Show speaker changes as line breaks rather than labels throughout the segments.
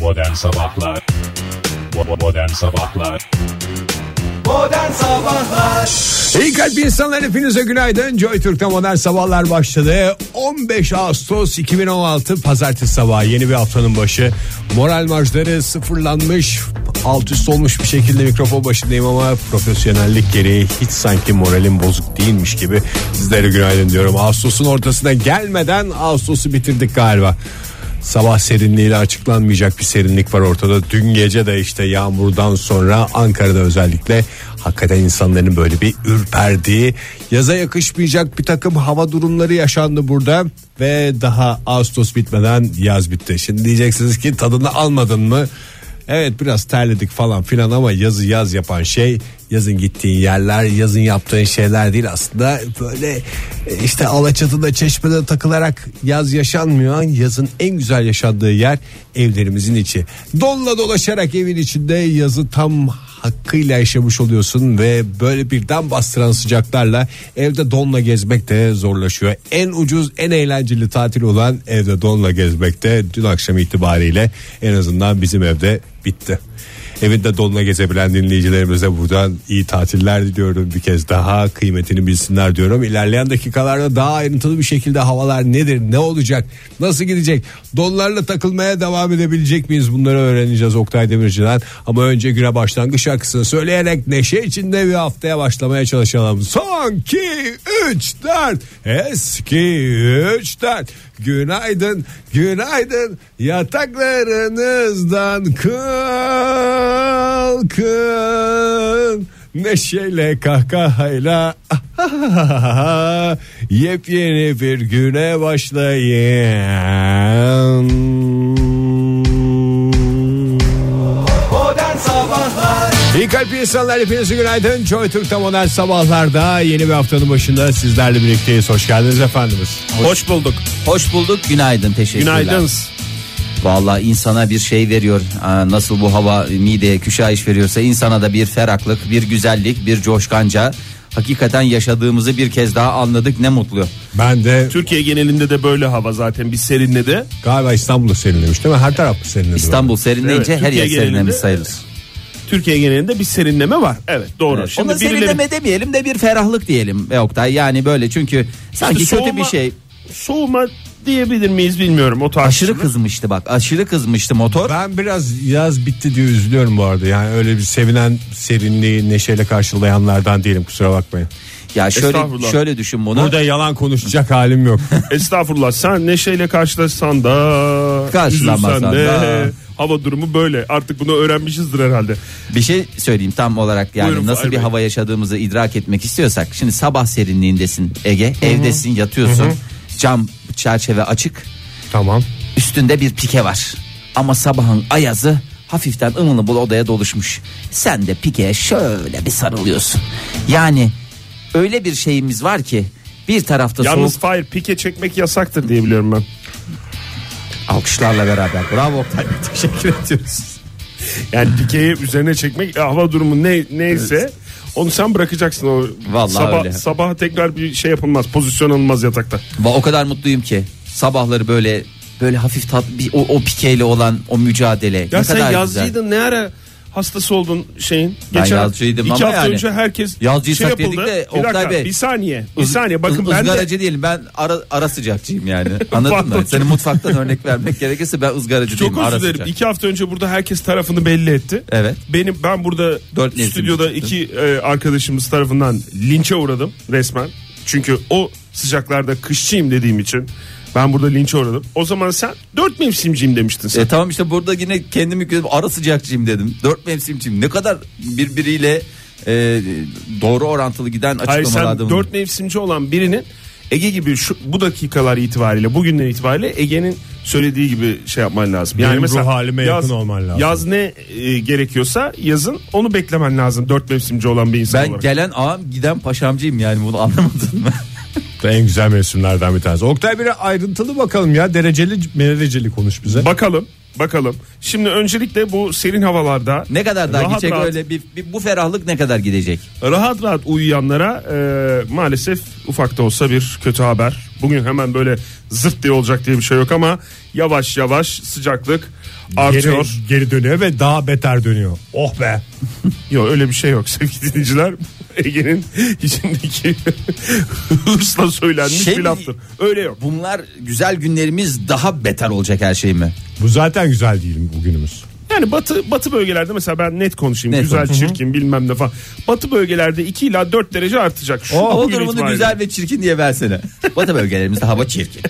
Modern Sabahlar Bo- Modern Sabahlar
Modern Sabahlar
İyi kalp insanlar hepinize günaydın. Joy Türk'te modern sabahlar başladı. 15 Ağustos 2016 Pazartesi sabahı yeni bir haftanın başı. Moral marjları sıfırlanmış, alt üst olmuş bir şekilde mikrofon başındayım ama profesyonellik gereği hiç sanki moralim bozuk değilmiş gibi sizlere günaydın diyorum. Ağustos'un ortasına gelmeden Ağustos'u bitirdik galiba. Sabah serinliğiyle açıklanmayacak bir serinlik var ortada. Dün gece de işte yağmurdan sonra Ankara'da özellikle hakikaten insanların böyle bir ürperdiği, yaza yakışmayacak bir takım hava durumları yaşandı burada ve daha Ağustos bitmeden yaz bitti. Şimdi diyeceksiniz ki tadını almadın mı? Evet biraz terledik falan filan ama yazı yaz yapan şey yazın gittiğin yerler yazın yaptığın şeyler değil aslında böyle e, işte Alaçatı'da çeşmede takılarak yaz yaşanmıyor yazın en güzel yaşandığı yer evlerimizin içi donla dolaşarak evin içinde yazı tam hakkıyla yaşamış oluyorsun ve böyle birden bastıran sıcaklarla evde donla gezmek de zorlaşıyor. En ucuz en eğlenceli tatil olan evde donla gezmek de dün akşam itibariyle en azından bizim evde bitti. Evinde donla gezebilen dinleyicilerimize buradan iyi tatiller diliyorum bir kez daha kıymetini bilsinler diyorum. İlerleyen dakikalarda daha ayrıntılı bir şekilde havalar nedir ne olacak nasıl gidecek donlarla takılmaya devam edebilecek miyiz bunları öğreneceğiz Oktay Demirci'den. Ama önce güne başlangıç şarkısını söyleyerek neşe içinde bir haftaya başlamaya çalışalım. Son 2 3 4 eski 3 4 Günaydın, günaydın yataklarınızdan kalkın. Neşeyle kahkahayla yepyeni bir güne başlayın.
Modern Sabahlar
İyi kalp insanlar hepinize günaydın. Joy Türk'te modern sabahlarda yeni bir haftanın başında sizlerle birlikteyiz. Hoş geldiniz efendimiz.
Hoş bulduk.
Hoş bulduk. Günaydın. Teşekkürler.
Günaydın.
Vallahi insana bir şey veriyor. Aa, Nasıl bu hava mideye küşayiş veriyorsa insana da bir feraklık, bir güzellik, bir coşkanca. Hakikaten yaşadığımızı bir kez daha anladık. Ne mutlu.
Ben de
Türkiye genelinde de böyle hava zaten bir serinledi.
Galiba İstanbul'da serinlemiş değil mi? Her taraf mı serinledi?
İstanbul serinleyince
Evet,
her yer
Türkiye genelinde-
serinlemiş sayılır.
Türkiye genelinde bir serinleme var. Evet doğru.
Ona
birileri-
serinleme demeyelim de bir ferahlık diyelim be Oktay. Yani böyle çünkü sanki
İşte
kötü bir
soğuma-
şey.
Soğuma diyebilir miyiz bilmiyorum o tartışma.
Aşırı kızmıştı bak. Aşırı kızmıştı motor.
Ben biraz yaz bitti diye üzülüyorum bu arada. Yani öyle bir sevinen serinliği neşeyle karşılayanlardan değilim kusura bakmayın.
Ya şöyle
Estağfurullah.
şöyle düşün bunu.
Burada yalan konuşacak halim yok.
Estağfurullah sen neşeyle karşılaşsan da
Karşılanmasan
üzülsen
da.
hava durumu böyle. Artık bunu öğrenmişizdir herhalde.
Bir şey söyleyeyim tam olarak yani
Buyurun
nasıl
Fahir
bir
Bey.
hava yaşadığımızı idrak etmek istiyorsak şimdi sabah serinliğindesin Ege evdesin yatıyorsun cam çerçeve açık
tamam.
üstünde bir pike var ama sabahın ayazı hafiften ımılı bul odaya doluşmuş sen de pikeye şöyle bir sarılıyorsun yani öyle bir şeyimiz var ki bir tarafta
Yalnız
soğuk
Fahir pike çekmek yasaktır diye biliyorum ben.
alkışlarla beraber bravo Oktay.
Teşekkür ediyoruz. Yani pikeyi üzerine çekmek e, hava durumu ne neyse onu sen bırakacaksın o
Vallahi
sabah
öyle.
sabah tekrar bir şey yapılmaz pozisyon alınmaz yatakta.
Ba- o kadar mutluyum ki sabahları böyle böyle hafif tat bir o, o pikeyle olan o mücadele
Ya
ne kadar
sen
güzel.
yazcıydın ne ara hastası oldun şeyin?
Ben yazcıydım
iki
ama
hafta
yani
önce herkes şey
yazcıysak
yapıldı.
dedik de
bir
Oktay
dakika
Bey.
bir saniye bir
Iz-
saniye bakın
ız-
ben de
ızgaracı değilim ben ara, ara sıcakçıyım yani anladın mı?
Pardon.
Senin mutfaktan örnek vermek gerekirse ben ızgaracı
çok
değilim ara
özür dilerim.
sıcak.
İki hafta önce burada herkes tarafını belli etti.
Evet.
Benim ben burada
Dört neslimiz
stüdyoda
çıktı.
iki e, arkadaşımız tarafından linçe uğradım resmen. Çünkü o sıcaklarda kışçıyım dediğim için ben burada linçe uğradım. O zaman sen dört mevsimciyim demiştin sen.
E, tamam işte burada yine kendimi gördüm ara sıcakçıyım dedim. Dört mevsimciyim ne kadar birbiriyle e, doğru orantılı giden
Hayır sen
açıklamalarda
dört mevsimci olan birinin Ege gibi şu, bu dakikalar itibariyle bugünden itibariyle Ege'nin söylediği gibi şey yapman lazım. Yani
Benim
mesela
ruh halime yakın olman lazım.
Yaz ne e, gerekiyorsa yazın onu beklemen lazım dört mevsimci olan bir insan
Ben
olarak.
gelen ağam giden paşamcıyım yani bunu anlamadın mı?
Bu da En güzel mevsimlerden bir tanesi. Oktay bir ayrıntılı bakalım ya. Dereceli dereceli konuş bize.
Bakalım bakalım. Şimdi öncelikle bu serin havalarda
ne kadar daha
Rahat
gidecek
rahat.
öyle bir, bir- bu ferahlık ne kadar gidecek?
rahat rahat uyuyanlara e, maalesef ufak da olsa bir kötü haber. Bugün hemen böyle zırt diye olacak diye bir şey yok ama yavaş yavaş sıcaklık artıyor.
Geri, geri dönüyor ve daha beter dönüyor. Oh be.
Yok öyle bir şey yok sevgili dinleyiciler. Ege'nin içindeki hırsla söylenmiş
Şey
bir
mi-
laftır. Öyle yok.
Bunlar güzel günlerimiz daha beter olacak her şey mi?
Bu zaten güzel değil bugünümüz.
Yani batı batı bölgelerde mesela ben net konuşayım.
Net
güzel,
konuş.
çirkin bilmem ne falan. Batı bölgelerde 2 ila 4 derece artacak. Şu
Hava
bugün
Oh. durumunu
itibariyle.
güzel ve çirkin diye versene. Batı bölgelerimizde hava çirkin.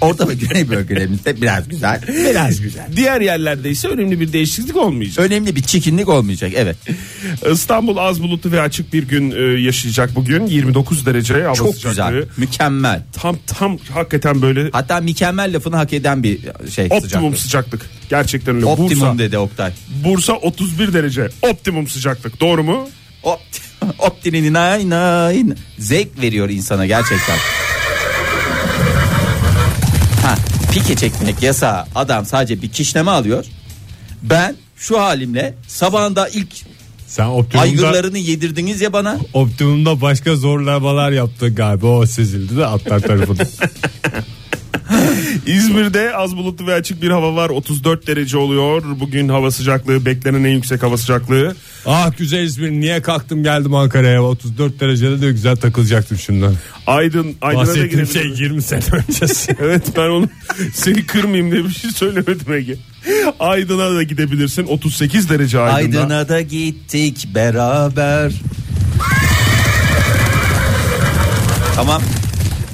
Orta ve güney bölgelerimizde biraz güzel.
Biraz güzel.
Diğer yerlerde ise önemli bir değişiklik olmayacak.
Önemli bir çirkinlik olmayacak evet.
İstanbul az bulutlu ve açık bir gün e, yaşayacak bugün. 29 derece hava
Çok
sıcaklığı.
güzel. Mükemmel.
Tam tam hakikaten böyle
Hatta mükemmel lafını hak eden bir şey
optimum
sıcaklık.
sıcaklık. Gerçekten öyle.
Optimum
Bursa,
dedi Oktay.
Bursa 31 derece. Optimum sıcaklık. Doğru mu?
Opt Optinin nay nay. Zevk veriyor insana gerçekten. ha, pike çekmek yasağı. Adam sadece bir kişneme alıyor. Ben şu halimle sabahında ilk
Sen optimumda,
aygırlarını yedirdiniz ya bana.
optimumda başka zorlamalar yaptın galiba. O sezildi de atlar tarafında.
İzmir'de az bulutlu ve açık bir hava var. 34 derece oluyor. Bugün hava sıcaklığı beklenen en yüksek hava sıcaklığı.
ah güzel İzmir niye kalktım geldim Ankara'ya. 34 derecede de güzel takılacaktım şundan.
Aydın, Aydın'a da
Bahsettiğim
girelim.
şey 20 sene öncesi.
Evet ben onu seni kırmayayım diye bir şey söylemedim Ege. Aydın'a da gidebilirsin. 38 derece Aydın'da.
Aydın'a da gittik beraber. tamam.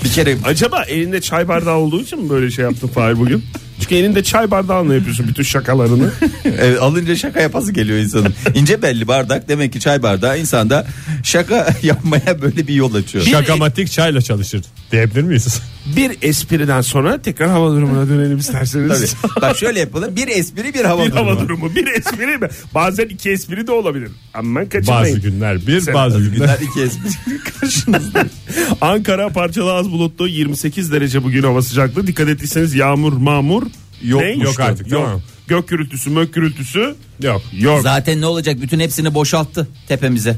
Bir kere
Acaba elinde çay bardağı olduğu için mi böyle şey yaptın Fahir bugün? Çünkü elinde çay bardağınla yapıyorsun bütün şakalarını.
e, alınca şaka yapası geliyor insanın. İnce belli bardak demek ki çay bardağı insanda şaka yapmaya böyle bir yol açıyor.
Şakamatik çayla çalışır diyebilir miyiz?
bir espriden sonra tekrar hava durumuna dönelim isterseniz.
Tabii. Bak şöyle yapalım. Bir espri bir hava
bir
durumu.
hava durumu, bir espri mi? Bazen iki espri de olabilir. Aman kaçırmayın.
Bazı günler bir
Sen-
bazı günler.
Günler iki espri karşınızda.
Ankara parçalı az bulutlu 28 derece bugün hava sıcaklığı. Dikkat ettiyseniz yağmur mağmur
Yokmuştu. Yok artık,
Yok.
tamam.
Gök gürültüsü mök gürültüsü
Yok.
yok.
Zaten ne olacak bütün hepsini boşalttı tepemize.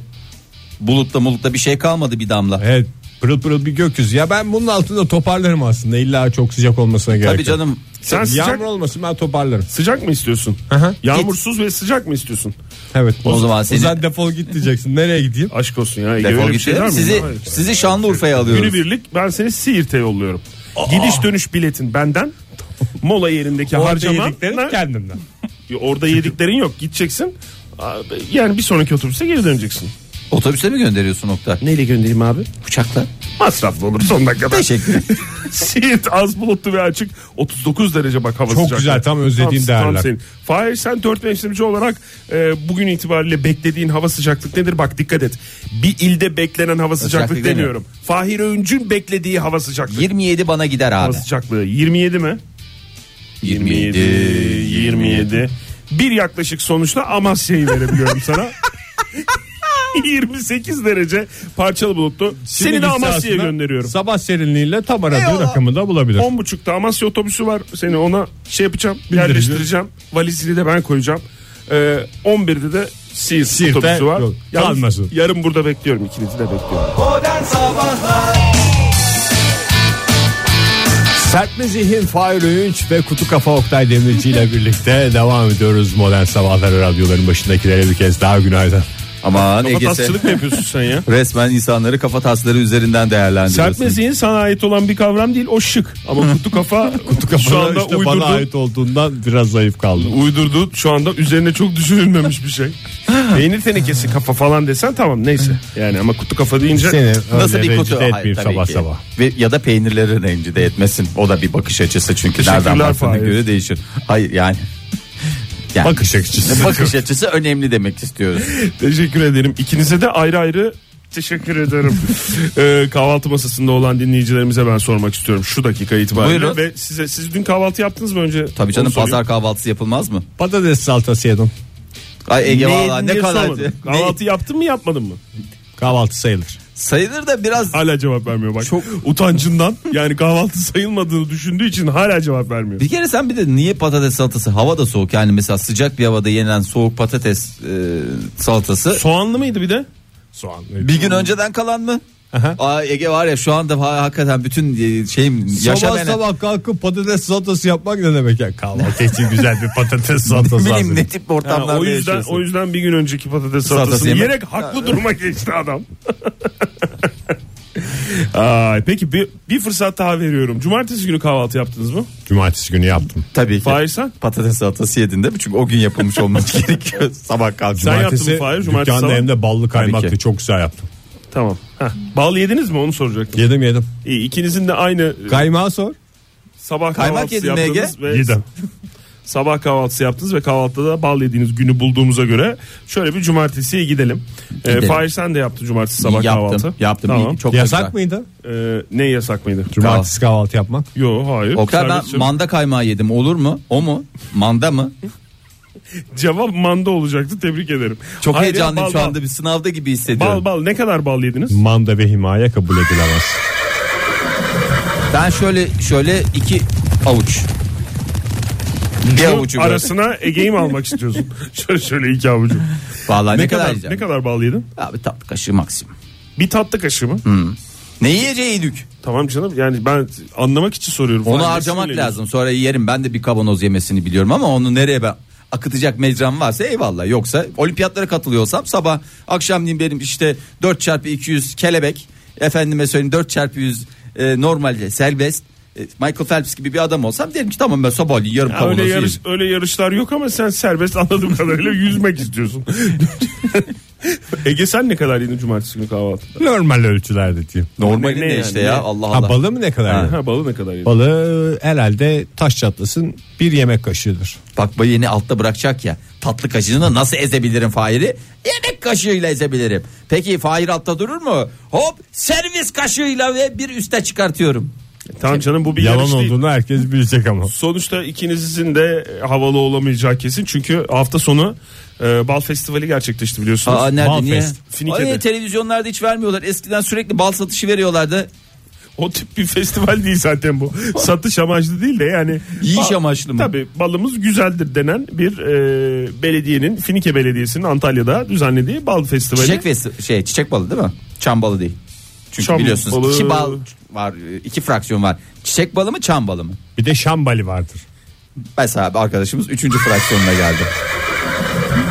Bulutta mulutta bir şey kalmadı bir damla.
Evet pırıl pırıl bir gökyüzü. Ya ben bunun altında toparlarım aslında. İlla çok sıcak olmasına gerek
Tabii
yok.
canım.
Sen
Yağmur
sıcak,
olmasın ben toparlarım.
sıcak mı istiyorsun?
hı.
Yağmursuz ve sıcak mı istiyorsun?
Evet.
O zaman seni-
zaman defol git diyeceksin. Nereye gideyim?
Aşk olsun ya. Ege,
Defol
öyle bir
git.
şey var mı?
sizi,
Hayır.
sizi Şanlıurfa'ya alıyoruz.
Günübirlik ben seni Siirt'e yolluyorum. Gidiş dönüş biletin benden. Mola yerindeki harcama.
yediklerim kendimden.
Orada yediklerin yok. Gideceksin. Abi, Yani bir sonraki otobüse geri döneceksin.
Otobüse mi gönderiyorsun nokta?
Neyle göndereyim abi?
Uçakla.
Masraflı olur son dakikada.
Teşekkür ederim.
Siirt az bulutlu ve açık. 39 derece bak hava
Çok
sıcaklığı.
güzel, tam özlediğin değerler.
senin. Fahir sen 4 mevsimci olarak e, bugün itibariyle beklediğin hava sıcaklık nedir? Bak dikkat et. Bir ilde beklenen hava sıcaklık,
Sıcaklık
demiyorum. Fahir Öğüncü'nün beklediği hava sıcaklığı.
27 bana gider abi.
Hava sıcaklığı 27 mi?
27.
27. Bir yaklaşık sonuçla Amasya'yı verebiliyorum sana. 28 derece parçalı bulutlu. Seni de Amasya'ya gönderiyorum.
Sabah serinliğiyle tam aradığı rakamı da bulabilir.
On buçukta Amasya otobüsü var. Seni ona şey yapacağım, yerleştireceğim. Valizini de ben koyacağım. Ee, 11'de de Siirt
Siirt'te
otobüsü var.
yok,
Yalnız
kalmasın.
yarın burada bekliyorum. İkinizi de bekliyorum.
Modern Sabahlar
Sertme Zihin, Fahir Öğünç ve Kutu Kafa Oktay Demirci ile birlikte devam ediyoruz. Modern Sabahları radyoların başındakilere bir kez daha günaydın.
Aman Ege'se.
Kafatasçılık mı yapıyorsun sen ya?
Resmen insanları kafa tasları üzerinden değerlendiriyorsun.
Sert meziğin sana ait olan bir kavram değil o şık. Ama kutu kafa, kutu kafa şu anda
işte
uydurduğun,
bana ait olduğundan biraz zayıf kaldım.
uydurduğun şu anda üzerine çok düşünülmemiş bir şey. Peynir tenekesi kafa falan desen tamam neyse. Yani ama kutu kafa deyince
Nasıl bir kutu?
Hayır,
Hayır, tabii
sabah
ki.
sabah.
Ve, ya da peynirleri rencide etmesin. O da bir bakış açısı çünkü nereden
Teşekkürler
baktığına
Fahir.
göre değişir. Hayır yani. yani
Bakış açısı.
bakış açısı önemli demek istiyoruz.
Teşekkür ederim. İkinize de ayrı ayrı teşekkür ederim. Ee, kahvaltı masasında olan dinleyicilerimize ben sormak istiyorum şu dakika itibariyle
Buyurun.
ve size siz dün kahvaltı yaptınız mı önce?
Tabii canım
Onu sorayım.
pazar kahvaltısı yapılmaz mı?
Patates salatası yedim.
Ay Ege
Ne-
valla ne
niye
kadar
sormadın? Kahvaltı yaptın mı yapmadın mı?
Kahvaltı sayılır.
sayılır da biraz
Hala cevap vermiyor bak.
Çok-
utancından yani kahvaltı sayılmadığını düşündüğü için hala cevap vermiyor.
bir kere sen bir de niye patates salatası hava da soğuk yani mesela sıcak bir havada yenilen soğuk patates e, salatası
Soğanlı mıydı bir de?
Soğan.
bir gün önceden kalan mı? Aa, Ege var ya şu anda ha- hakikaten bütün e, şeyim yaşam
sabah
ene-
sabah kalkıp patates salatası yapmak ne demek ya? Kahvaltı için güzel bir patates
Ne
salatası
bileyim ne
hazırlayayım.
tip
Ha,
ortamlarda
o yüzden
yaşıyorsun.
o yüzden bir gün önceki patates
Salatası
salatasını
yemek.
yiyerek haklı duruma geçti adam. Ay, peki bir, bir fırsat daha veriyorum. Cumartesi günü kahvaltı yaptınız mı?
Cumartesi günü yaptım.
Tabii ki.
Fahir sen?
Patates salatası yedin değil mi? Çünkü o gün yapılmış olması gerekiyor. Sabah kalk.
Sen yaptın
Cumartesi
mı Fahir? Cumartesi
dükkanda
sabah.
hem de ballı
Tabii
kaymaklı
ki.
çok güzel yaptım.
Tamam. Heh. Bağlı yediniz mi onu soracaktım.
Yedim yedim.
İyi, ikinizin de aynı e,
Kaymağı sor.
sabah
Kaymak
kahvaltısı
yedin mi Ege?
yaptınız. Ve
Yedim.
Sabah kahvaltısı yaptınız ve kahvaltıda da bal yediğiniz günü bulduğumuza göre şöyle bir cumartesiye gidelim. Ee,
Gidelim.
Fahir sen de yaptı cumartesi sabah
yaptım,
kahvaltı.
Yaptım.
Tamam.
Çok da
Yasak
güzel.
mıydı?
Ee, ne yasak mıydı?
Cumartesi kahvaltı yapmak.
Yo hayır.
Oktay ben
Serbest canım.
manda kaymağı yedim olur mu? O mu? Manda mı?
Cevap manda olacaktı tebrik ederim.
Çok
Hayır,
heyecanlıyım
bal,
şu
bal.
anda bir sınavda gibi hissediyorum.
Bal bal ne kadar bal yediniz?
Manda ve himaye kabul edilemez.
Ben şöyle şöyle iki avuç. Bir
Şu
avucu böyle.
arasına Ege'yi mi almak istiyorsun? şöyle şöyle iki avucu.
Vallahi ne,
ne
kadar,
kadar
yiyeceğim?
ne kadar bal yedin?
Abi tatlı kaşığı maksimum.
Bir tatlı kaşığı mı?
Ne yiyeceğiydik?
Tamam canım yani ben anlamak için soruyorum.
Onu
Fahir,
harcamak
nasıl
lazım. Sonra yerim. Ben de bir kabanoz yemesini biliyorum ama onu nereye ben akıtacak mecram varsa eyvallah. Yoksa olimpiyatlara katılıyorsam sabah akşamleyin benim işte 4 çarpı 200 kelebek efendime söyleyeyim 4 çarpı 100 e, normalde serbest e, Michael Phelps gibi bir adam olsam derim ki tamam ben sabahleyin yarım
Ya öyle
kavanozu yerim.
yarış öyle yarışlar yok ama sen serbest anladığım kadarıyla yüzmek istiyorsun. Ege sen ne kadar yedin cumartesi günü kahvaltıda?
Normal ölçülerde diyeyim.
Normali
Ne
ne,
yani,
işte
ne?
ya Allah
Ha
Allah.
balı mı ne kadar? yedin?
Ha balı ne kadar yedin?
Balı e, herhalde taş çatlasın bir yemek kaşığıdır.
Bak bayını altta bırakacak ya. Tatlı kaşığını nasıl ezebilirim Fahir'i? Yemek kaşığıyla ezebilirim. Peki Fahir altta durur mu? Hop servis kaşığıyla ve bir üste çıkartıyorum.
Tamam canım bu bir
Yalan
yarış değil.
olduğunu herkes bilecek ama.
Sonuçta ikinizin de e, havalı olamayacağı kesin. Çünkü hafta sonu e, bal festivali gerçekleşti biliyorsunuz.
Aa nerede
Balfest,
niye?
Finike'de.
Ay, televizyonlarda hiç vermiyorlar. Eskiden sürekli bal satışı veriyorlardı.
O tip bir festival değil zaten bu. Satış amaçlı değil de yani.
Yiyiş
Ba-
amaçlı mı?
Tabii balımız güzeldir denen bir e, belediyenin Finike Belediyesi'nin Antalya'da düzenlediği bal festivali.
Çiçek festi- şey çiçek balı değil mi? Çam balı değil. Çünkü
Çam
biliyorsunuz
balı.
iki bal var, iki fraksiyon var. Çiçek balı mı, çam balı mı?
Bir de şambali vardır.
Mesela bir arkadaşımız üçüncü fraksiyonuna geldi.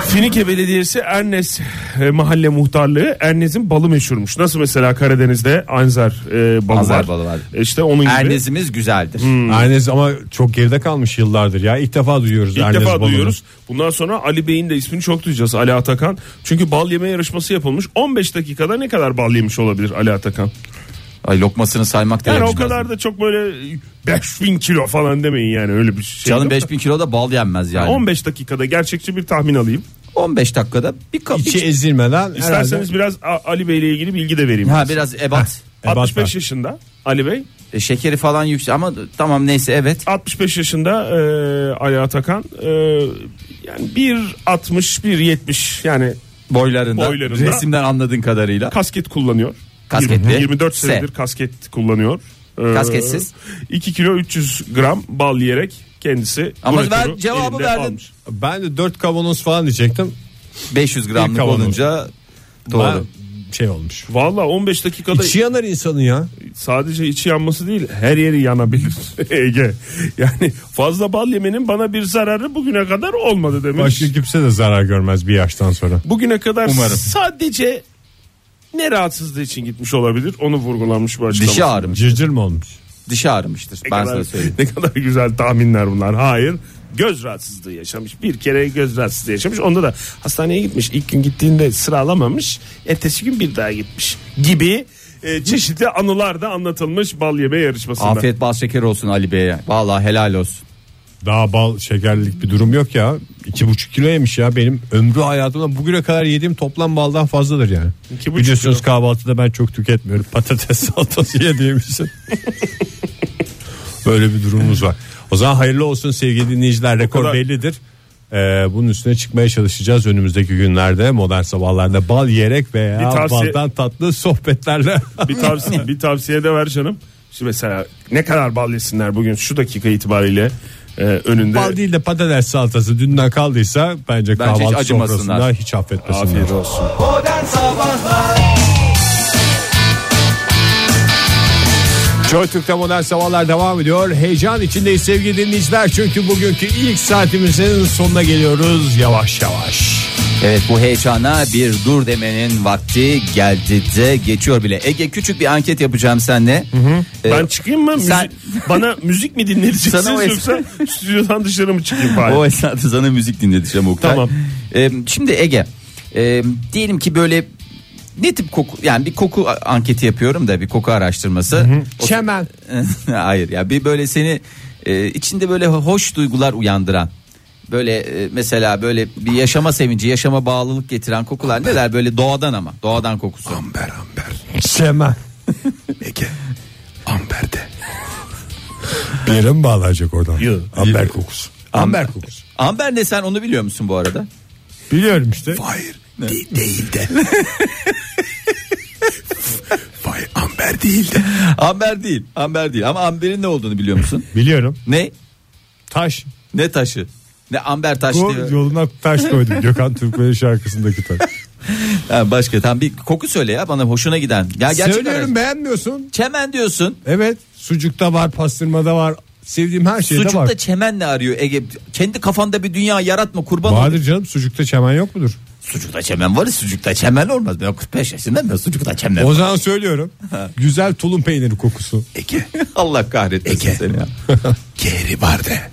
Finike Belediyesi Ernes e, Mahalle Muhtarlığı Ernes'in balı meşhurmuş. Nasıl mesela Karadeniz'de Anzer e, balı,
Anzer
var.
balı var.
İşte onun gibi.
Ernezimiz güzeldir.
Hmm.
Ernez ama çok geride kalmış yıllardır ya. İlk defa duyuyoruz
İlk
Ernez
defa
balını.
duyuyoruz. Bundan sonra Ali Bey'in de ismini çok duyacağız. Ali Atakan. Çünkü bal yeme yarışması yapılmış. 15 dakikada ne kadar bal yemiş olabilir Ali Atakan?
Ay lokmasını saymak da
Yani o
yakışmaz.
kadar da çok böyle 5000 kilo falan demeyin yani öyle bir şey.
Canım
yok.
5000 kilo da bal yenmez yani.
15 dakikada gerçekçi bir tahmin alayım.
15 dakikada bir kap.
İçi ezilmeden
İsterseniz biraz A- Ali Bey'le ilgili bilgi de vereyim.
Ha e, biraz ebat.
ebat
65
var.
yaşında Ali Bey.
E, şekeri falan yüksek ama tamam neyse evet.
65 yaşında e, Ali Atakan e, yani 1.60 1.70 yani
Boylarında,
Boylarında.
resimden anladığın kadarıyla.
kasket kullanıyor.
Kasketli.
20, 24
S.
senedir kasket kullanıyor. Ee,
Kasketsiz.
2 kilo 300 gram bal yiyerek kendisi
Ama
bu
ben
rekoru
cevabı
elinde
verdim.
almış.
Ben de 4 kavanoz falan diyecektim.
500
Bir
gramlık
kavanoz.
olunca doğru.
Doğru. şey olmuş.
Valla 15 dakikada
İçi yanar insanın ya.
sadece içi yanması değil her yeri yanabilir Ege. Yani fazla bal yemenin bana bir zararı bugüne kadar olmadı demiş.
Başka kimse de zarar görmez bir yaştan sonra.
Bugüne kadar
Umarım.
sadece ne rahatsızlığı için gitmiş olabilir onu vurgulanmış bu açıklaması.
Dişi ağrımış.
Cırcır mı olmuş?
Dişi ağrımıştır.
Ne
ben
kadar-
sana söyleyeyim.
Ne kadar güzel tahminler bunlar. Hayır. Göz rahatsızlığı yaşamış. Bir kere göz rahatsızlığı yaşamış. Onda da hastaneye gitmiş. İlk gün gittiğinde sıra alamamış. Ertesi gün bir daha gitmiş. Gibi e, çeşitli anılar da anlatılmış bal yeme yarışmasında.
Afiyet bal şeker olsun Ali Bey'e. Vallahi helal olsun.
Daha bal şekerlik bir durum yok ya. 2,5 kilo yemiş ya benim ömrü hayatımda bugüne kadar yediğim toplam baldan fazladır yani.
İki buçuk
Biliyorsunuz
kilo.
kahvaltıda ben çok tüketmiyorum. Patates salatası yediğim için. Böyle bir durumumuz var. O zaman hayırlı olsun sevgili dinleyiciler. Rekor
kadar-
bellidir. Ee, bunun üstüne çıkmaya çalışacağız önümüzdeki günlerde modern sabahlarda bal yiyerek veya
Bir tavsiye-
baldan tatlı sohbetlerle
Bir tavsiye, bir tavsiye de ver canım. Şimdi mesela ne kadar bal yesinler bugün şu dakika itibariyle e, önünde.
bal değil de patates salatası dünden kaldıysa bence,
Bence hiç
kahvaltı
acımasınlar.
sofrasında hiç affetmesinler.
Afiyet olsun.
Modern Sabahlar
Joy Türk'te modern sabahlar devam ediyor. Heyecan içindeyiz sevgili dinleyiciler. Çünkü bugünkü ilk saatimizin sonuna geliyoruz yavaş yavaş.
Evet bu heyecana bir dur demenin vakti geldi de geçiyor bile. Ege küçük bir anket yapacağım seninle. Ee,
Ben çıkayım mı? Müzik-
sen-
bana müzik mi dinleteceksiniz
Sana o es-
yoksa stüdyodan dışarı mı çıkayım bari?
O esnada sana müzik dinleteceğim Oktay.
Tamam.
Ee, şimdi Ege e, diyelim ki böyle ne tip koku yani bir koku a- anketi yapıyorum da bir koku araştırması. O-
Çemen.
Hayır ya bir böyle seni e, içinde böyle hoş duygular uyandıran böyle e, mesela böyle bir yaşama sevinci yaşama bağlılık getiren kokular neler böyle doğadan ama doğadan kokusu.
Amber amber.
Çemen.
Ege. Amber de.
Bir yere mi bağlanacak oradan?
Yok.
Amber kokusu. Amber kokusu.
Amber ne sen onu biliyor musun bu arada?
Biliyorum işte.
Hayır. de- değil de. Vay amber değil de.
Amber değil. Amber değil ama amberin ne olduğunu biliyor musun?
Biliyorum.
ne?
Taş.
Ne taşı? Ne amber taş
Bu
diyor.
yoluna taş koydum. Gökhan Türkmen'in şarkısındaki taş.
Ha, başka tam bir koku söyle ya bana hoşuna giden. Ya gerçekten
Söylüyorum beğenmiyorsun.
Çemen diyorsun.
Evet. Sucukta var, pastırmada var. Sevdiğim her şeyde
Sucukta
var.
çemen ne arıyor Ege? Kendi kafanda bir dünya yaratma kurban olayım.
Vardır canım sucukta çemen yok mudur?
Sucukta çemen var sucukta çemen olmaz. Ben 45 yaşındayım ben sucukta çemen.
O zaman söylüyorum. Güzel tulum peyniri kokusu.
Allah kahretmesin
Ege.
seni ya.
Geri var de.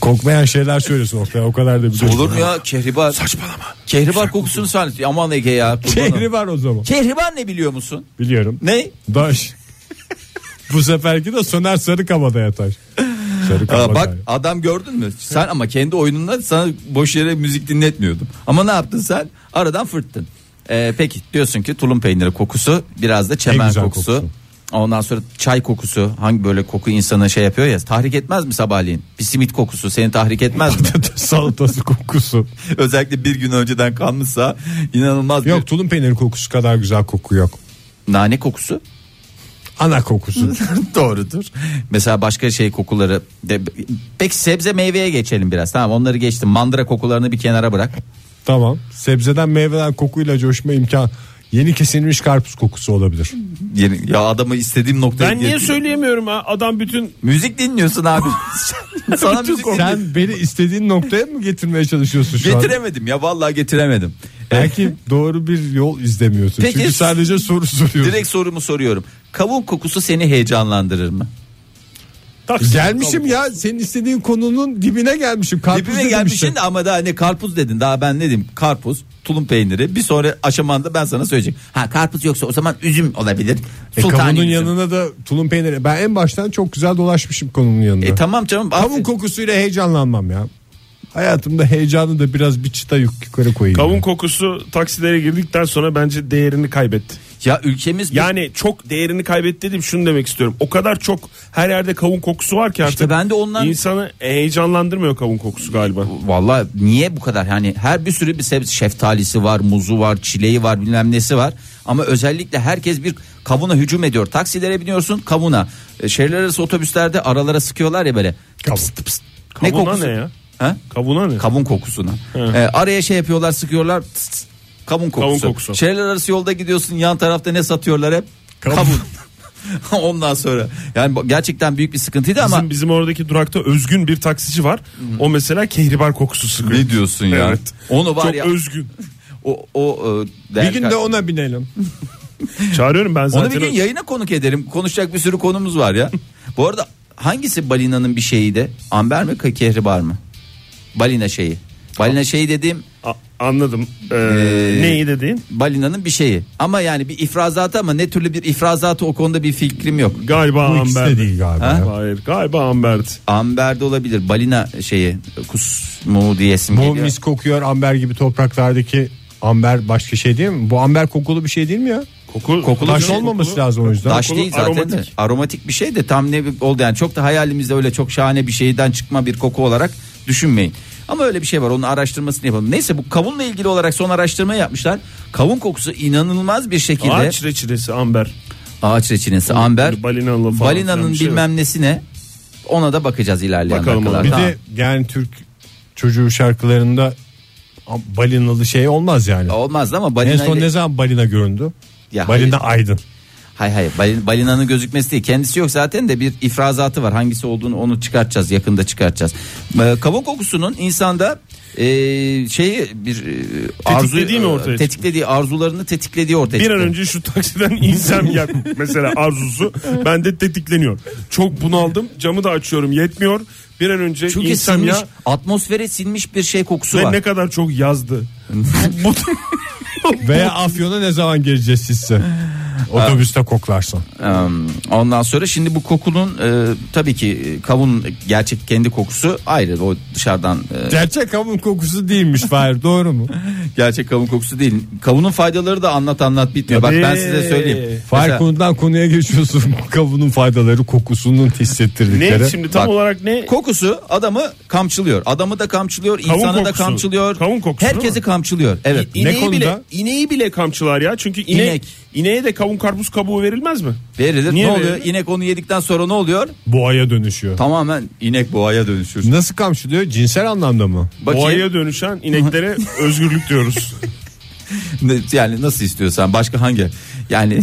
Kokmayan şeyler söylüyorsun Oktay o kadar da bir
Olur mu ya kehribar?
Saçmalama.
Kehribar kokusunu sen. Aman Ege ya. kurban olayım.
Şehri var o zaman.
Kehribar ne biliyor musun?
Biliyorum.
Ne?
Daş. Bu seferki de Soner Sarıkabada'ya taş.
Aa,
Sarıkabada'ya.
bak adam gördün mü? Sen ama kendi oyununda sana boş yere müzik dinletmiyordum. Ama ne yaptın sen? Aradan fırttın. Ee, peki diyorsun ki tulum peyniri kokusu biraz da çemen
güzel
kokusu.
kokusu.
Ondan sonra çay kokusu hangi böyle koku insana şey yapıyor ya tahrik etmez mi sabahleyin? Bir simit kokusu seni tahrik etmez mi?
Salatası kokusu.
Özellikle bir gün önceden kalmışsa inanılmaz bir-
Yok tulum peyniri kokusu kadar güzel koku yok.
nane kokusu.
Ana kokusu.
Doğrudur. Mesela başka şey kokuları de, peki sebze meyveye geçelim biraz tamam onları geçtim mandıra kokularını bir kenara bırak.
tamam. Sebzeden meyveden kokuyla coşma imkan. Yeni kesilmiş karpuz kokusu olabilir.
Yeni- ya adamı istediğim noktaya
Ben niye
getirdim.
söyleyemiyorum ha? Adam bütün
Müzik dinliyorsun abi. Sana
Bütün
müzik
konu-
Sen-
Sen beni istediğin noktaya mı getirmeye çalışıyorsun şu an?
getiremedim ya vallahi getiremedim. E,
Belki doğru bir yol izlemiyorsun.
Peki-
Çünkü sadece soru soruyorsun.
Direkt sorumu soruyorum. Kavun kokusu seni heyecanlandırır mı?
taksi.
Gelmişim ya senin istediğin konunun dibine gelmişim. Karpuz
Dibime
dedim
gelmişsin
işte.
de ama daha ne karpuz dedin. Daha ben ne diyeyim? Karpuz, tulum peyniri. Bir sonra aşamanda ben sana söyleyeceğim. Ha karpuz yoksa o zaman üzüm olabilir.
E,
Sultani
kavunun
üzüm.
yanına da tulum peyniri. Ben en baştan çok güzel dolaşmışım konunun yanına.
E tamam canım.
Kavun
aferin.
kokusuyla heyecanlanmam ya. Hayatımda heyecanı da biraz bir çıta yuk- yukarı koyayım.
Kavun kokusu taksilere girdikten sonra bence değerini kaybetti.
ya ülkemiz
Yani çok değerini kaybetti dedim şunu demek istiyorum. O kadar çok her yerde kavun kokusu var ki artık.
İşte ben de ondan-
insanı e, heyecanlandırmıyor kavun kokusu galiba.
Vallahi niye bu kadar yani her bir sürü bir sebze şeftalisi var muzu var çileği var bilmem nesi var ama özellikle herkes bir kavuna hücum ediyor taksilere biniyorsun kavuna E, şehirler arası otobüslerde aralara sıkıyorlar ya böyle
Kavun.
ne
Kavuna
kokusu
ne ya?
Ha?
Kavuna ne?
kavun kokusuna E, araya şey yapıyorlar sıkıyorlar tıs tıs. kavun kokusu.
Kavun kokusu.
şehirler arası yolda gidiyorsun yan tarafta ne satıyorlar hep kavun, ondan sonra yani bu- gerçekten büyük bir sıkıntıydı ama
Bizim, bizim oradaki durakta özgün bir taksici var. O mesela kehribar kokusu sıkıyor.
ne diyorsun ya?
Evet.
Onu var
Çok
ya
özgün.
o o e,
Bir
değer-
gün de ona binelim.
Çağırıyorum ben zaten.
Onu bir gün yayına konuk ederim. Konuşacak bir sürü konumuz var ya. Bu arada hangisi balinanın bir şeyiydi? Amber mi ke- kehribar mı? Balina şeyi. Balina şeyi dediğim
A- anladım. Ee,
Ee,
neyi dediğin?
balinanın bir şeyi. Ama yani bir ifrazatı ama ne türlü bir ifrazatı o konuda bir fikrim yok.
Galiba
Bu ikisi de
amberdi.
değil galiba.
Ha?
ya.
Hayır galiba amberdi.
Amber de olabilir. Balina şeyi kusmu diyesim
Bu
geliyor.
mis kokuyor amber gibi topraklardaki amber başka şey değil mi? Bu amber kokulu bir şey değil mi ya?
Koku,
Kokulu
Taş
bir-
olmaması
kokulu-
lazım o yüzden.
Taş
kokulu,
değil zaten de.
aromatik.
Aromatik bir şey de tam ne oldu yani çok da hayalimizde öyle çok şahane bir şeyden çıkma bir koku olarak düşünmeyin. Ama öyle bir şey var onun araştırmasını yapalım. Neyse bu kavunla ilgili olarak son araştırma yapmışlar. Kavun kokusu inanılmaz bir şekilde ağaç,
Ağaç reçinesi amber.
reçinesi amber
Balinalı falan filan
balinanın
bir şey
bilmem nesi ne ona da bakacağız ilerleyen
Bakalım
dakikalarda.
Bir
Tamam.
de yani Türk çocuğu şarkılarında balinalı şey olmaz yani.
olmaz ama
En
balina
son ne zaman balina göründü?
Ya
balina
hayır.
aydın.
Hay hay balin- balinanın gözükmesi değil kendisi yok zaten de bir ifrazatı var hangisi olduğunu onu çıkartacağız yakında çıkartacağız. Ee, kavun kokusunun insanda e, şeyi bir e,
Tetiklediği mi ortaya çıktı?
tetiklediği arzularını tetiklediği ortaya
Bir an
çıktı.
önce şu taksiden insem yak mesela arzusu bende tetikleniyor. Çok bunaldım camı da açıyorum yetmiyor. Bir an önce
Çünkü
insem
sinmiş,
ya
atmosfere sinmiş bir şey kokusu
ve
var.
ne kadar çok yazdı.
Veya Afyon'a ne zaman geleceğiz sizse? Otobüste koklarsan.
Ee, Ondan sonra şimdi bu kokunun e, tabii ki kavun gerçek kendi kokusu ayrı o dışarıdan e,
Gerçek kavun kokusu değilmiş Fahir doğru mu?
gerçek kavun kokusu değil. Kavunun faydaları da anlat anlat bitmiyor. Bak ben
Tabii.
size söyleyeyim.
Fahir
Mesela-
konudan konuya geçiyorsun. Kavunun faydaları kokusunun
Ne
hissettirdikleri.
şimdi tam
Bak.
olarak ne?
Kokusu adamı kamçılıyor. Adamı da kamçılıyor,
Kavun
insanı da
kokusu.
kamçılıyor.
Kavun kokusu,
Herkesi
değil mi?
kamçılıyor. Evet.
Ne
İneği bile
konuda?
ineği bile kamçılar ya. Çünkü inek,
İnek.
ineğe de kavun karpuz kabuğu verilmez mi?
Verilir.
Niye
ne oluyor?
verilir?
İnek onu yedikten sonra ne oluyor?
Boğaya dönüşüyor.
Tamamen inek boğaya dönüşür.
Nasıl kamçılıyor? Cinsel anlamda mı?
Bakayım.
Boğaya dönüşen ineklere özgürlük diyoruz.
Ne- Yani nasıl istiyorsan başka hangi? Yani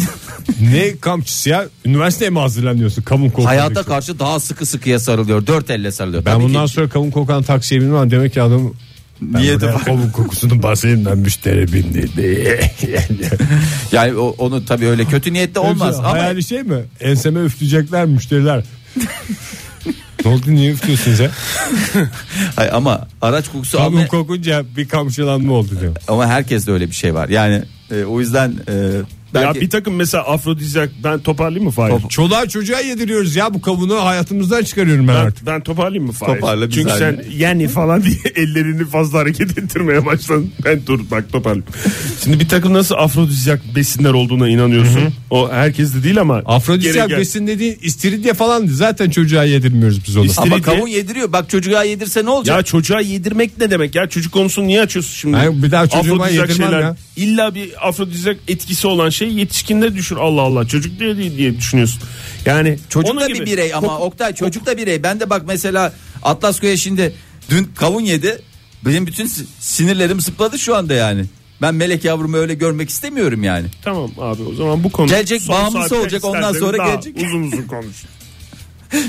Ne kamçısı ya? Üniversiteye mi hazırlanıyorsun? Kavun kokusu.
hayata
şey.
karşı daha sıkı sıkıya sarılıyor. Dört elle sarılıyor.
Ben
Tabii
bundan
ki
sonra kavun kokan taksiye binmem. Demek ki adam
niyeti
buraya
var.
kavun kokusunun bahsedinden müşteri bindi diye.
Yani o- onu tabii öyle kötü niyetli olmaz ama
Hayali şey mi? Enseme üfleyecekler müşteriler. ne oldu niye üflüyorsunuz ya?
Hay- ama araç kokusu
Kavun
ama,
kokunca bir kamçılanma oldu diyor.
ama herkes de öyle bir şey var. Yani e, o yüzden e, belki
ya bir takım mesela afrodizyak ben toparlayayım mı Fahir?
Top-
Çoluğa çocuğa yediriyoruz ya bu kavunu hayatımızdan çıkarıyorum ben,
Ben,
artık.
ben toparlayayım mı Fahir?
Toparla, biz
Çünkü
abi.
sen yani falan diye ellerini fazla hareket ettirmeye başladın. Ben dur bak toparlayayım. Şimdi bir takım nasıl afrodizyak besinler olduğuna inanıyorsun. O herkes de değil ama.
Afrodizyak
gereken-
besin dediğin istiridye falan zaten çocuğa yedirmiyoruz biz onu.
İstiridye-
ama kavun yediriyor. Bak çocuğa yedirse ne olacak?
Ya çocuğa yedirmek ne demek ya? Çocuk konusunu niye açıyorsun şimdi?
Hayır, bir daha çocuğuma
Afrodizyak
yedirmem
şeyler.
ya.
İlla bir afrodizyak etkisi olan şey yetişkinde düşür Allah Allah. Çocuk diye diye, diye düşünüyorsun. Yani
Çocuk
onun
da
gibi.
bir birey ama Oktay çocuk da birey. Ben de bak mesela Atlas Köy'e şimdi dün kavun yedi. Benim bütün si- sinirlerim zıpladı şu anda yani. Ben melek yavrumu öyle görmek istemiyorum yani.
Tamam abi o zaman bu konu.
Gelecek
son
bağımlısı
saatte
olacak, ondan
isterseniz
sonra
daha
gelecek.
Uzun uzun konuş.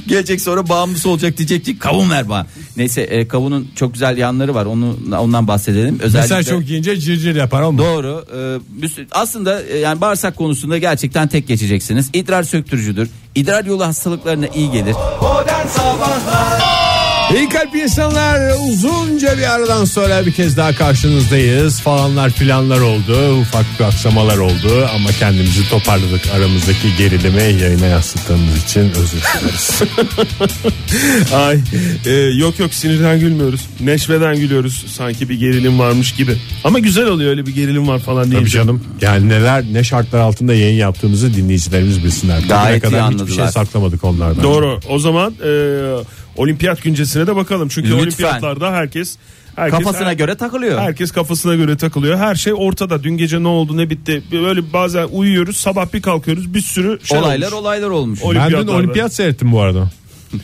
Gelecek sonra bağımlısı olacak diyecek ki kavun ver bana. Neyse e, kavunun çok güzel yanları var. Onu ondan bahsedelim. Özellikle
Mesela çok yiyince cırcır yapar ama.
Doğru. E, bir sü- aslında e, yani bağırsak konusunda gerçekten tek geçeceksiniz. İdrar söktürücüdür. İdrar yolu hastalıklarına iyi gelir.
Modern Sabahlar
İyi kalp insanlar uzunca bir aradan sonra bir kez daha karşınızdayız. Falanlar filanlar oldu. Ufak bir aksamalar oldu. Ama kendimizi toparladık. Aramızdaki gerilimi yayına yansıttığımız için özür dileriz.
Ay e, yok yok sinirden gülmüyoruz. Neşveden gülüyoruz. Sanki bir gerilim varmış gibi. Ama güzel oluyor öyle bir gerilim var falan diye.
Tabii canım. Yani neler ne şartlar altında yayın yaptığımızı dinleyicilerimiz bilsinler. Bugüne
Gayet iyi
kadar hiçbir
anladılar.
şey saklamadık onlardan.
Doğru. O zaman e, olimpiyat güncesine de bakalım. Çünkü
Lütfen.
olimpiyatlarda herkes, herkes
Kafasına
her-
göre takılıyor.
Herkes kafasına göre takılıyor. Her şey ortada. Dün gece ne oldu ne bitti. Böyle bazen uyuyoruz sabah bir kalkıyoruz bir sürü şey
olaylar
olmuş.
olaylar olmuş.
Ben dün
Olimpiyatlarda.
olimpiyat seyrettim bu arada.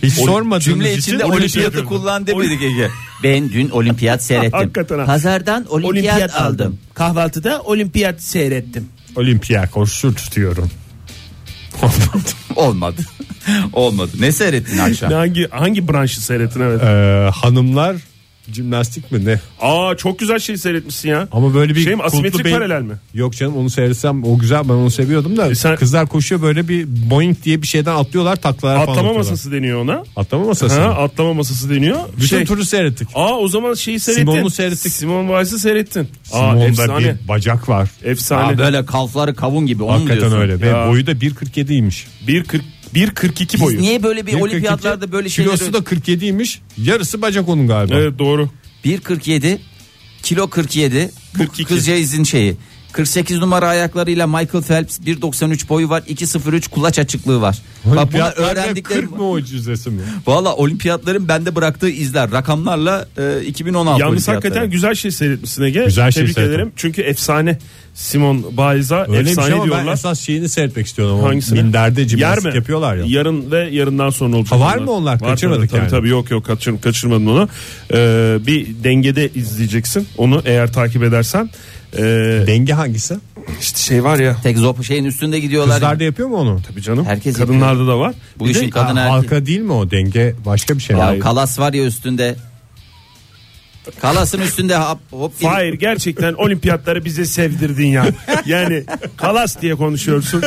Hiç sormadığınız
Cümle
için
içinde
olimpiyat
olimpiyatı
gördüm.
kullan demedik Ege. Ben dün olimpiyat seyrettim.
Hakikaten ha.
Pazardan olimpiyat,
Olimpiyat
aldım.
aldım. Kahvaltıda olimpiyat seyrettim.
Olimpiyat koşu tutuyorum.
Olmadı. Olmadı. Ne seyrettin akşam?
Ne, hangi hangi branşı seyrettin evet.
Ee, hanımlar jimnastik mi ne?
Aa çok güzel şey seyretmişsin ya.
Ama böyle bir
Şey mi,
kutlu
asimetrik
beyin-
paralel mi?
Yok canım onu seyretsem o güzel ben onu seviyordum da
E sen-
kızlar koşuyor böyle bir boing diye bir şeyden atlıyorlar taklalar falan
Atlama
atıyorlar.
masası deniyor ona.
Atlama masası.
Ha,
mı?
atlama masası deniyor.
Bütün
Şey-
turu seyrettik.
Aa o zaman şeyi seyrettin.
Simon'u seyrettik.
Simon Weiss'i seyrettin. Aa
Simon'da
efsane.
bir bacak var.
Aa,
Efsane.
böyle kalfları kavun gibi. Onu mu
Hakikaten
diyorsun?
öyle.
Ya.
Ve boyu da 1.47'ymiş.
1.40 1.42
Biz
boyu.
niye böyle bir
1.42,
olimpiyatlarda böyle şeyler...
Kilosu da 47'ymiş. Yarısı bacak onun galiba.
Evet doğru.
1.47 kilo 47
42.
bu kızcağızın şeyi. 48 numara ayaklarıyla Michael Phelps 1.93 boyu var 2.03 kulaç açıklığı var. Bak bunu
Olimpiyatlarda
öğrendiklerim
40 mucizesi mi?
Valla olimpiyatların bende bıraktığı izler rakamlarla e, 2016
Yalnız
olimpiyatları.
hakikaten güzel şey seyretmişsin Ege.
Güzel şey
Tebrik
seyrettim.
ederim. Çünkü efsane Simon Bayza
Öyle bir
efsane
şey ama ben
diyorlar.
esas şeyini seyretmek istiyorum. Hangisini?
Hangisini?
Minderde
Yer
jimnastik
mi?
yapıyorlar ya.
Yarın ve yarından sonra olacak.
Ha, var mı onlar? Kaçırmadık
tabii,
yani.
Tabii, tabii yok yok kaçır, kaçırmadım onu. Ee, bir dengede izleyeceksin onu eğer takip edersen. Ee,
Denge hangisi?
işte şey var ya.
Tek zop şeyin üstünde gidiyorlar.
Kızlar da yapıyor mu onu?
Tabii canım.
Herkes
kadınlarda da var.
Bu
Bir de-
işin kadın
Ha,
erkek.
halka değil mi o denge? Başka bir şey mi?
Ya kalas var ya üstünde. Kalasın üstünde hop hop.
Hayır gerçekten olimpiyatları bize sevdirdin ya. Yani kalas diye konuşuyorsun.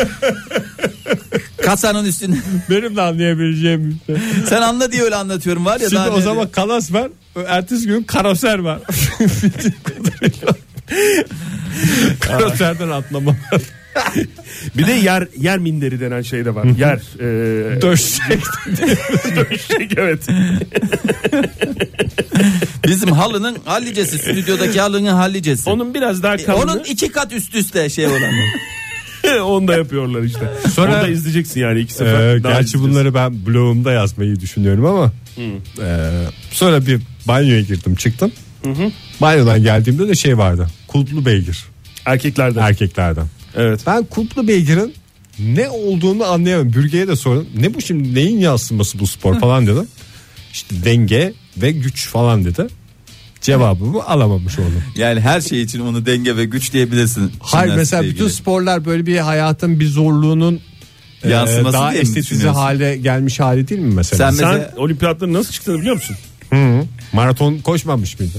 Kasanın üstünde.
Benim de anlayabileceğim. bir şey.
Sen anla diye öyle anlatıyorum var ya.
Şimdi
daha
o
ne-
zaman kalas var. Ertesi gün karoser var. Karoserden atlama.
Bir de yer yer minderi denen şey de var. Yer e,
şey
Döşek.
döşek, evet.
Bizim halının hallicesi. Stüdyodaki halının hallicesi. Onun,
Onun biraz
E,
daha kalını
Onun iki kat üst üste şey olan.
onu da yapıyorlar işte.
Sonra-
Sonra onu da izleyeceksin yani iki sefer.
Ee,
daha
gerçi
izleyeceğiz.
bunları ben blogumda yazmayı düşünüyorum ama ee, sonra bir banyoya girdim çıktım. Banyodan geldiğimde de şey vardı. Kulplu beygir
erkeklerde.
erkeklerden.
evet.
Ben kulplu beygirin ne olduğunu anlayamıyorum. Bürge'ye de sordum. Ne bu şimdi neyin yansıması bu spor falan dedim. İşte denge ve güç falan dedi. Cevabımı alamamış oldum.
Yani her şey için onu denge ve güç diyebilirsin.
Hayır
Jimnastikle
mesela
ilgili.
bütün sporlar böyle bir hayatın bir zorluğunun e,
Yansıması
daha
diye mi
estetize
düşünüyorsun?
hale gelmiş hali değil mi mesela?
Sen-
Sen
Mesela-
olimpiyatların nasıl çıktığını biliyor musun?
Hı. Maraton koşmamış mıydı?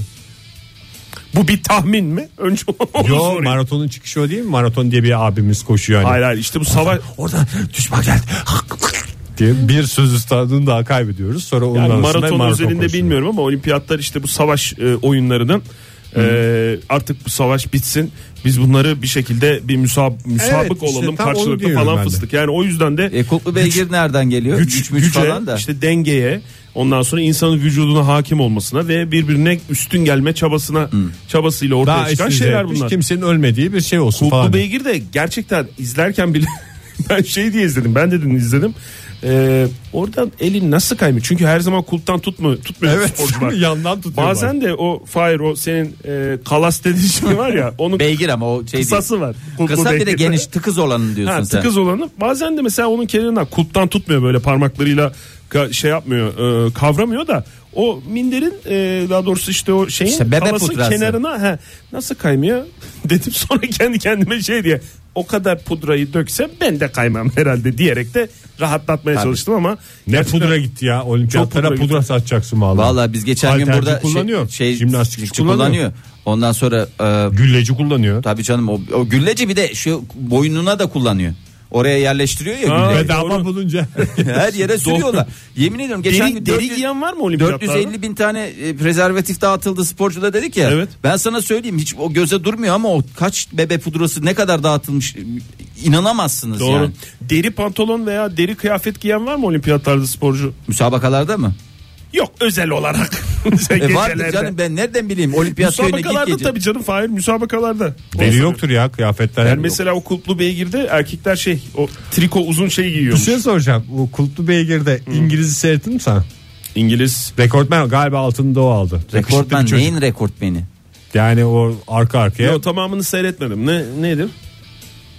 Bu bir tahmin mi? Önce onu
Yo
sorayım.
maratonun çıkışı o değil mi? Maraton diye bir abimiz koşuyor hani.
Hayır hayır işte bu savaş
Orada düşman geldi. diye bir söz üstadını daha kaybediyoruz. Sonra onun
yani
arasında
maraton, üzerinde
koşuyor.
bilmiyorum ama olimpiyatlar işte bu savaş e, oyunlarının e, artık bu savaş bitsin. Biz bunları bir şekilde bir müsab müsabık
işte
olalım
tam onu
karşılıklı
diyorum
falan
ben de.
fıstık. Yani o yüzden de
E, kulplu beygir nereden geliyor? Güç, güç,
güce,
falan da.
işte dengeye, ondan sonra insanın vücuduna hakim olmasına ve birbirine üstün gelme çabasına çabasıyla ortaya
Daha
çıkan
estize
şeyler
etmiş,
bunlar.
Kimsenin ölmediği bir şey olsun
Kulplu
falan.
Beygir de gerçekten izlerken bile ben şey diye izledim. Ben de dün izledim. Ee, oradan elin nasıl kaymıyor? Çünkü her zaman kulptan tutma, tutmuyor
Evet.
sporcular.
Yandan tutuyor
Bazen de o Fahir o senin e, kalas dediğin şey var ya onun
Beygir ama o şey
kısası var.
değil.
Kulplu
Kısa bir de
beygir.
geniş tıkız olanı diyorsun
Ha,
sen.
tıkız olanı bazen de mesela onun kenarından kulptan tutmuyor böyle parmaklarıyla ka- şey yapmıyor e, kavramıyor da o minderin e, daha doğrusu işte o şeyin
İşte bebe
halasın
pudrası.
kenarına he, nasıl kaymıyor dedim sonra kendi kendime şey diye o kadar pudrayı döksem ben de kaymam herhalde diyerek de rahatlatmaya çalıştım ama
Ne pudra gitti ya olimpiyatlara
Çok
pudra,
pudra gitti.
satacaksın vallahi.
Vallahi biz geçen gün
Halterci
burada
kullanıyor.
şey, şey
jimnastikçi
kullanıyor.
kullanıyor.
Ondan sonra e,
Gülleci kullanıyor.
tabii canım o, o gülleci bir de şu boynuna da kullanıyor. Oraya yerleştiriyor ya
Aa,
gülleyi.
Bedava bulunca.
Her yere sürüyorlar. Yemin ediyorum geçen
deri,
gün
deri
400
giyen var mı olimpiyatlarda?
450 bin tane e, prezervatif dağıtıldı sporcuda dedik ya.
Evet.
Ben sana söyleyeyim hiç o göze durmuyor ama o kaç bebe pudrası ne kadar dağıtılmış e, inanamazsınız
Doğru.
yani.
Deri pantolon veya deri kıyafet giyen var mı olimpiyatlarda sporcu?
Müsabakalarda mı?
Yok özel olarak.
E vardı
Gecelerde.
canım ben nereden bileyim olimpiyat köyüne git
Müsabakalarda
gece.
tabii canım Fahir müsabakalarda.
Deri yoktur ya kıyafetler.
Yani mesela o kulplu beygirde erkekler şey o triko uzun şey
bir
giyiyormuş.
şey soracağım. Bu kulplu beygirde İngiliz'i seyrettin mi sen?
İngiliz.
Rekortmen galiba altını da o aldı. Yakışıklı bir
Rekortmen
çocuk.
neyin rekortmeni?
Yani o arka arkaya.
Yo, tamamını seyretmedim. Ne nedir?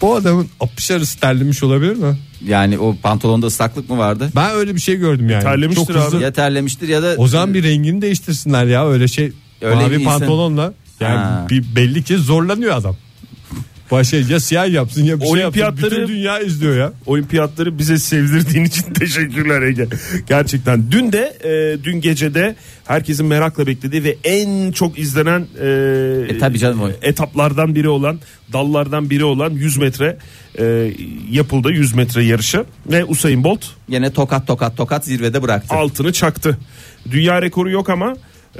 Bu adamın apışarısı terlemiş olabilir mi?
Yani o pantolonda ıslaklık mı vardı?
Ben öyle bir şey gördüm yani.
Terlemiştir
Çok hızlı.
abi.
Ya terlemiştir ya da
O zaman bir rengini değiştirsinler ya öyle şey.
Öyle bir
mavi
insan-
pantolonla. Yani
Ha.
bir belli ki zorlanıyor adam. Başka ya siyah yapsın ya bir şey yapsın.
Olimpiyatları-
Bütün dünya izliyor ya.
Olimpiyatları bize sevdirdiğin için teşekkürler Ege. Gerçekten. Dün de e, dün gecede herkesin merakla beklediği ve en çok izlenen e,
E tabii canım o.
etaplardan biri olan dallardan biri olan 100 metre e, yapıldı 100 metre yarışı ve Usain Bolt
yine tokat tokat tokat zirvede bıraktı.
altını çaktı. Dünya rekoru yok ama e,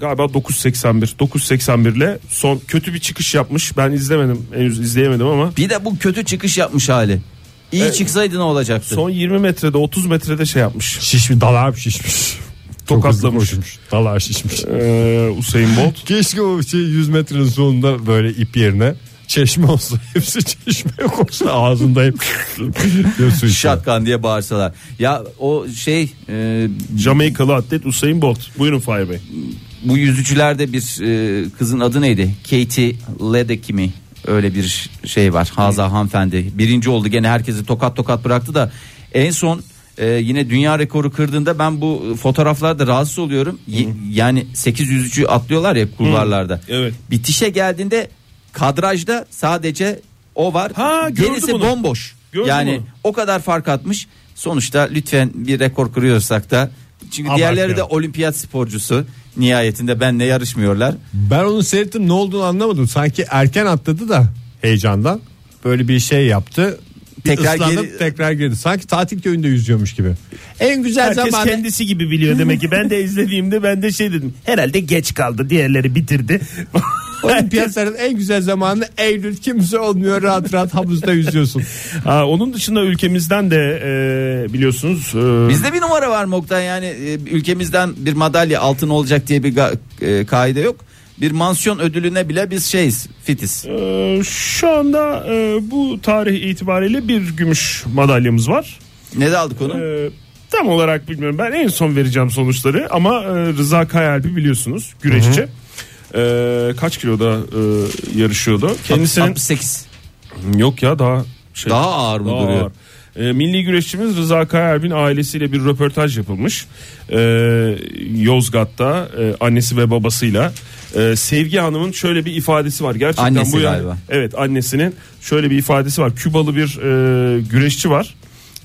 galiba 9.81 9.81 ile son kötü bir çıkış yapmış. Ben izlemedim henüz izleyemedim ama
Bir de bu kötü çıkış yapmış hali. İyi çıksaydı ne olacaktı?
son 20 metrede 30 metrede şey yapmış.
Şişmiş dalağa şişmiş. Çok hızlı
Tokatlamış.
koşmuş. Dalağa şişmiş.
E, Usain Bolt.
Keşke o şey 100 metrenin sonunda böyle ip yerine çeşme olsa. Hepsi çeşmeye koşsa ağzındayım.
Şatkan diye bağırsalar. Ya o şey e,
Jamaikalı atlet Usain Bolt. Buyurun Fahir Bey.
bu yüzücülerde bir e, kızın adı neydi? Katie Ledecky mi? Öyle bir şey var. Haza hanımefendi. Birinci oldu gene herkesi tokat tokat bıraktı da en son e, yine dünya rekoru kırdığında ben bu fotoğraflarda rahatsız oluyorum. Y- yani 8 yüzücü atlıyorlar ya kulvarlarda.
Evet.
Bitişe geldiğinde Kadrajda sadece o var.
Ha, gördüm
Gerisi
onu.
bomboş.
Gördüm
yani
onu.
o kadar fark atmış. Sonuçta lütfen bir rekor kırıyorsak da çünkü diğerleri de olimpiyat sporcusu nihayetinde benle yarışmıyorlar.
Ben onu seyrettim ne olduğunu anlamadım. Sanki erken atladı da heyecandan. Böyle bir şey yaptı.
Tekrar
tekrar ıslanıp
geri-
tekrar girdi. Sanki tatil köyünde yüzüyormuş gibi. En güzel
Herkes
zaman
kendisi gibi biliyor demek ki. Ben de izlediğimde ben de şey dedim. Herhalde geç kaldı. Diğerleri bitirdi.
olimpiyatların en güzel zamanı Eylül kimse olmuyor rahat rahat havuzda yüzüyorsun.
Aa, onun dışında ülkemizden de e, biliyorsunuz e,
Bizde bir numara var mı Oktay? Yani e, ülkemizden bir madalya altın olacak diye bir ga- e, kaide yok. Bir mansiyon ödülüne bile biz şeyiz fitiz.
e, şu anda e, bu tarih itibariyle bir gümüş madalyamız var.
Ne de aldık onu?
E, tam olarak bilmiyorum. Ben en son vereceğim sonuçları ama e, Rıza Kayalp'i biliyorsunuz güreşçi. E, kaç kiloda e, yarışıyordu? Kendisinin
68.
yok ya daha şey,
Daha ağır mı
Daha
duruyor?
ağır. Ee, milli güreşçimiz Rıza Kayalp'in ailesiyle bir röportaj yapılmış. Ee, Yozgat'ta e, annesi ve babasıyla. Ee, Sevgi Hanım'ın şöyle bir ifadesi var. Gerçekten
Annesi
bu yani-
galiba.
Evet annesinin şöyle bir ifadesi var. Kübalı bir e, güreşçi var.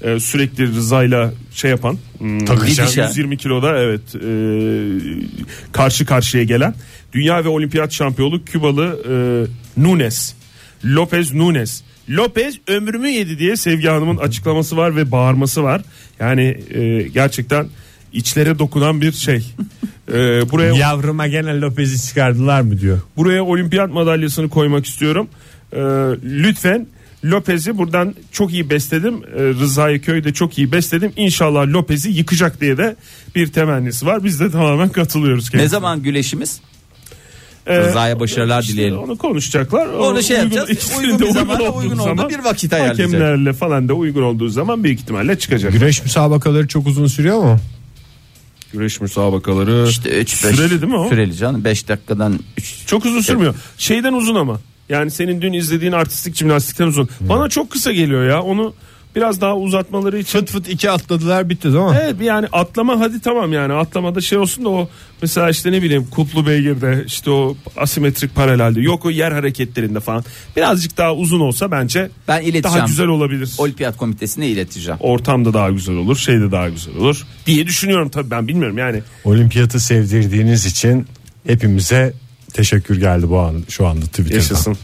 Ee, sürekli Rıza'yla şey yapan hmm,
Takışan.
yani 120 kiloda evet e, karşı karşıya gelen dünya ve olimpiyat şampiyonu Kübalı e, Nunes Lopez Nunes Lopez ömrümü yedi diye Sevgi Hanım'ın açıklaması var ve bağırması var yani e, gerçekten içlere dokunan bir şey E, buraya
Yavruma gene Lopez'i çıkardılar mı diyor.
buraya olimpiyat madalyasını koymak istiyorum. Ee, lütfen Lopez'i buradan çok iyi besledim. Ee, Rıza'yı köyde çok iyi besledim. İnşallah Lopez'i yıkacak diye de bir temennisi var. Biz de tamamen katılıyoruz.
Ne
kendisine.
zaman güleşimiz?
Ee,
Rıza'ya başarılar
işte
dileyelim.
Onu konuşacaklar.
Onu şey yapacağız.
ikisinin
Uygun
de
bir zamanda,
olduğu
uygun olduğu bir vakit ayarlayacak.
Hakemlerle falan da uygun olduğu zaman büyük ihtimalle çıkacak.
Güreş müsabakaları çok uzun sürüyor mu?
Güreş müsabakaları
İşte üç, beş-
süreli değil mi o?
Süreli canım. 5 dakikadan 3.
Çok uzun sürmüyor. Şeyden uzun ama. Yani senin dün izlediğin artistik jimnastikten uzun. Bana çok kısa geliyor ya. Onu biraz daha uzatmaları için.
Fıt fıt iki atladılar bitti değil mi?
Evet yani atlama hadi tamam yani atlamada şey olsun da o mesela işte ne bileyim kutlu beygirde işte o asimetrik paralelde yok o yer hareketlerinde falan birazcık daha uzun olsa bence
Ben ileteceğim.
daha güzel olabilir.
Olimpiyat komitesine ileteceğim.
Ortamda daha güzel olur şeyde daha güzel olur diye düşünüyorum tabii ben bilmiyorum yani.
Olimpiyatı sevdirdiğiniz için hepimize teşekkür geldi bu an şu anda Twitter'dan.
Yaşasın.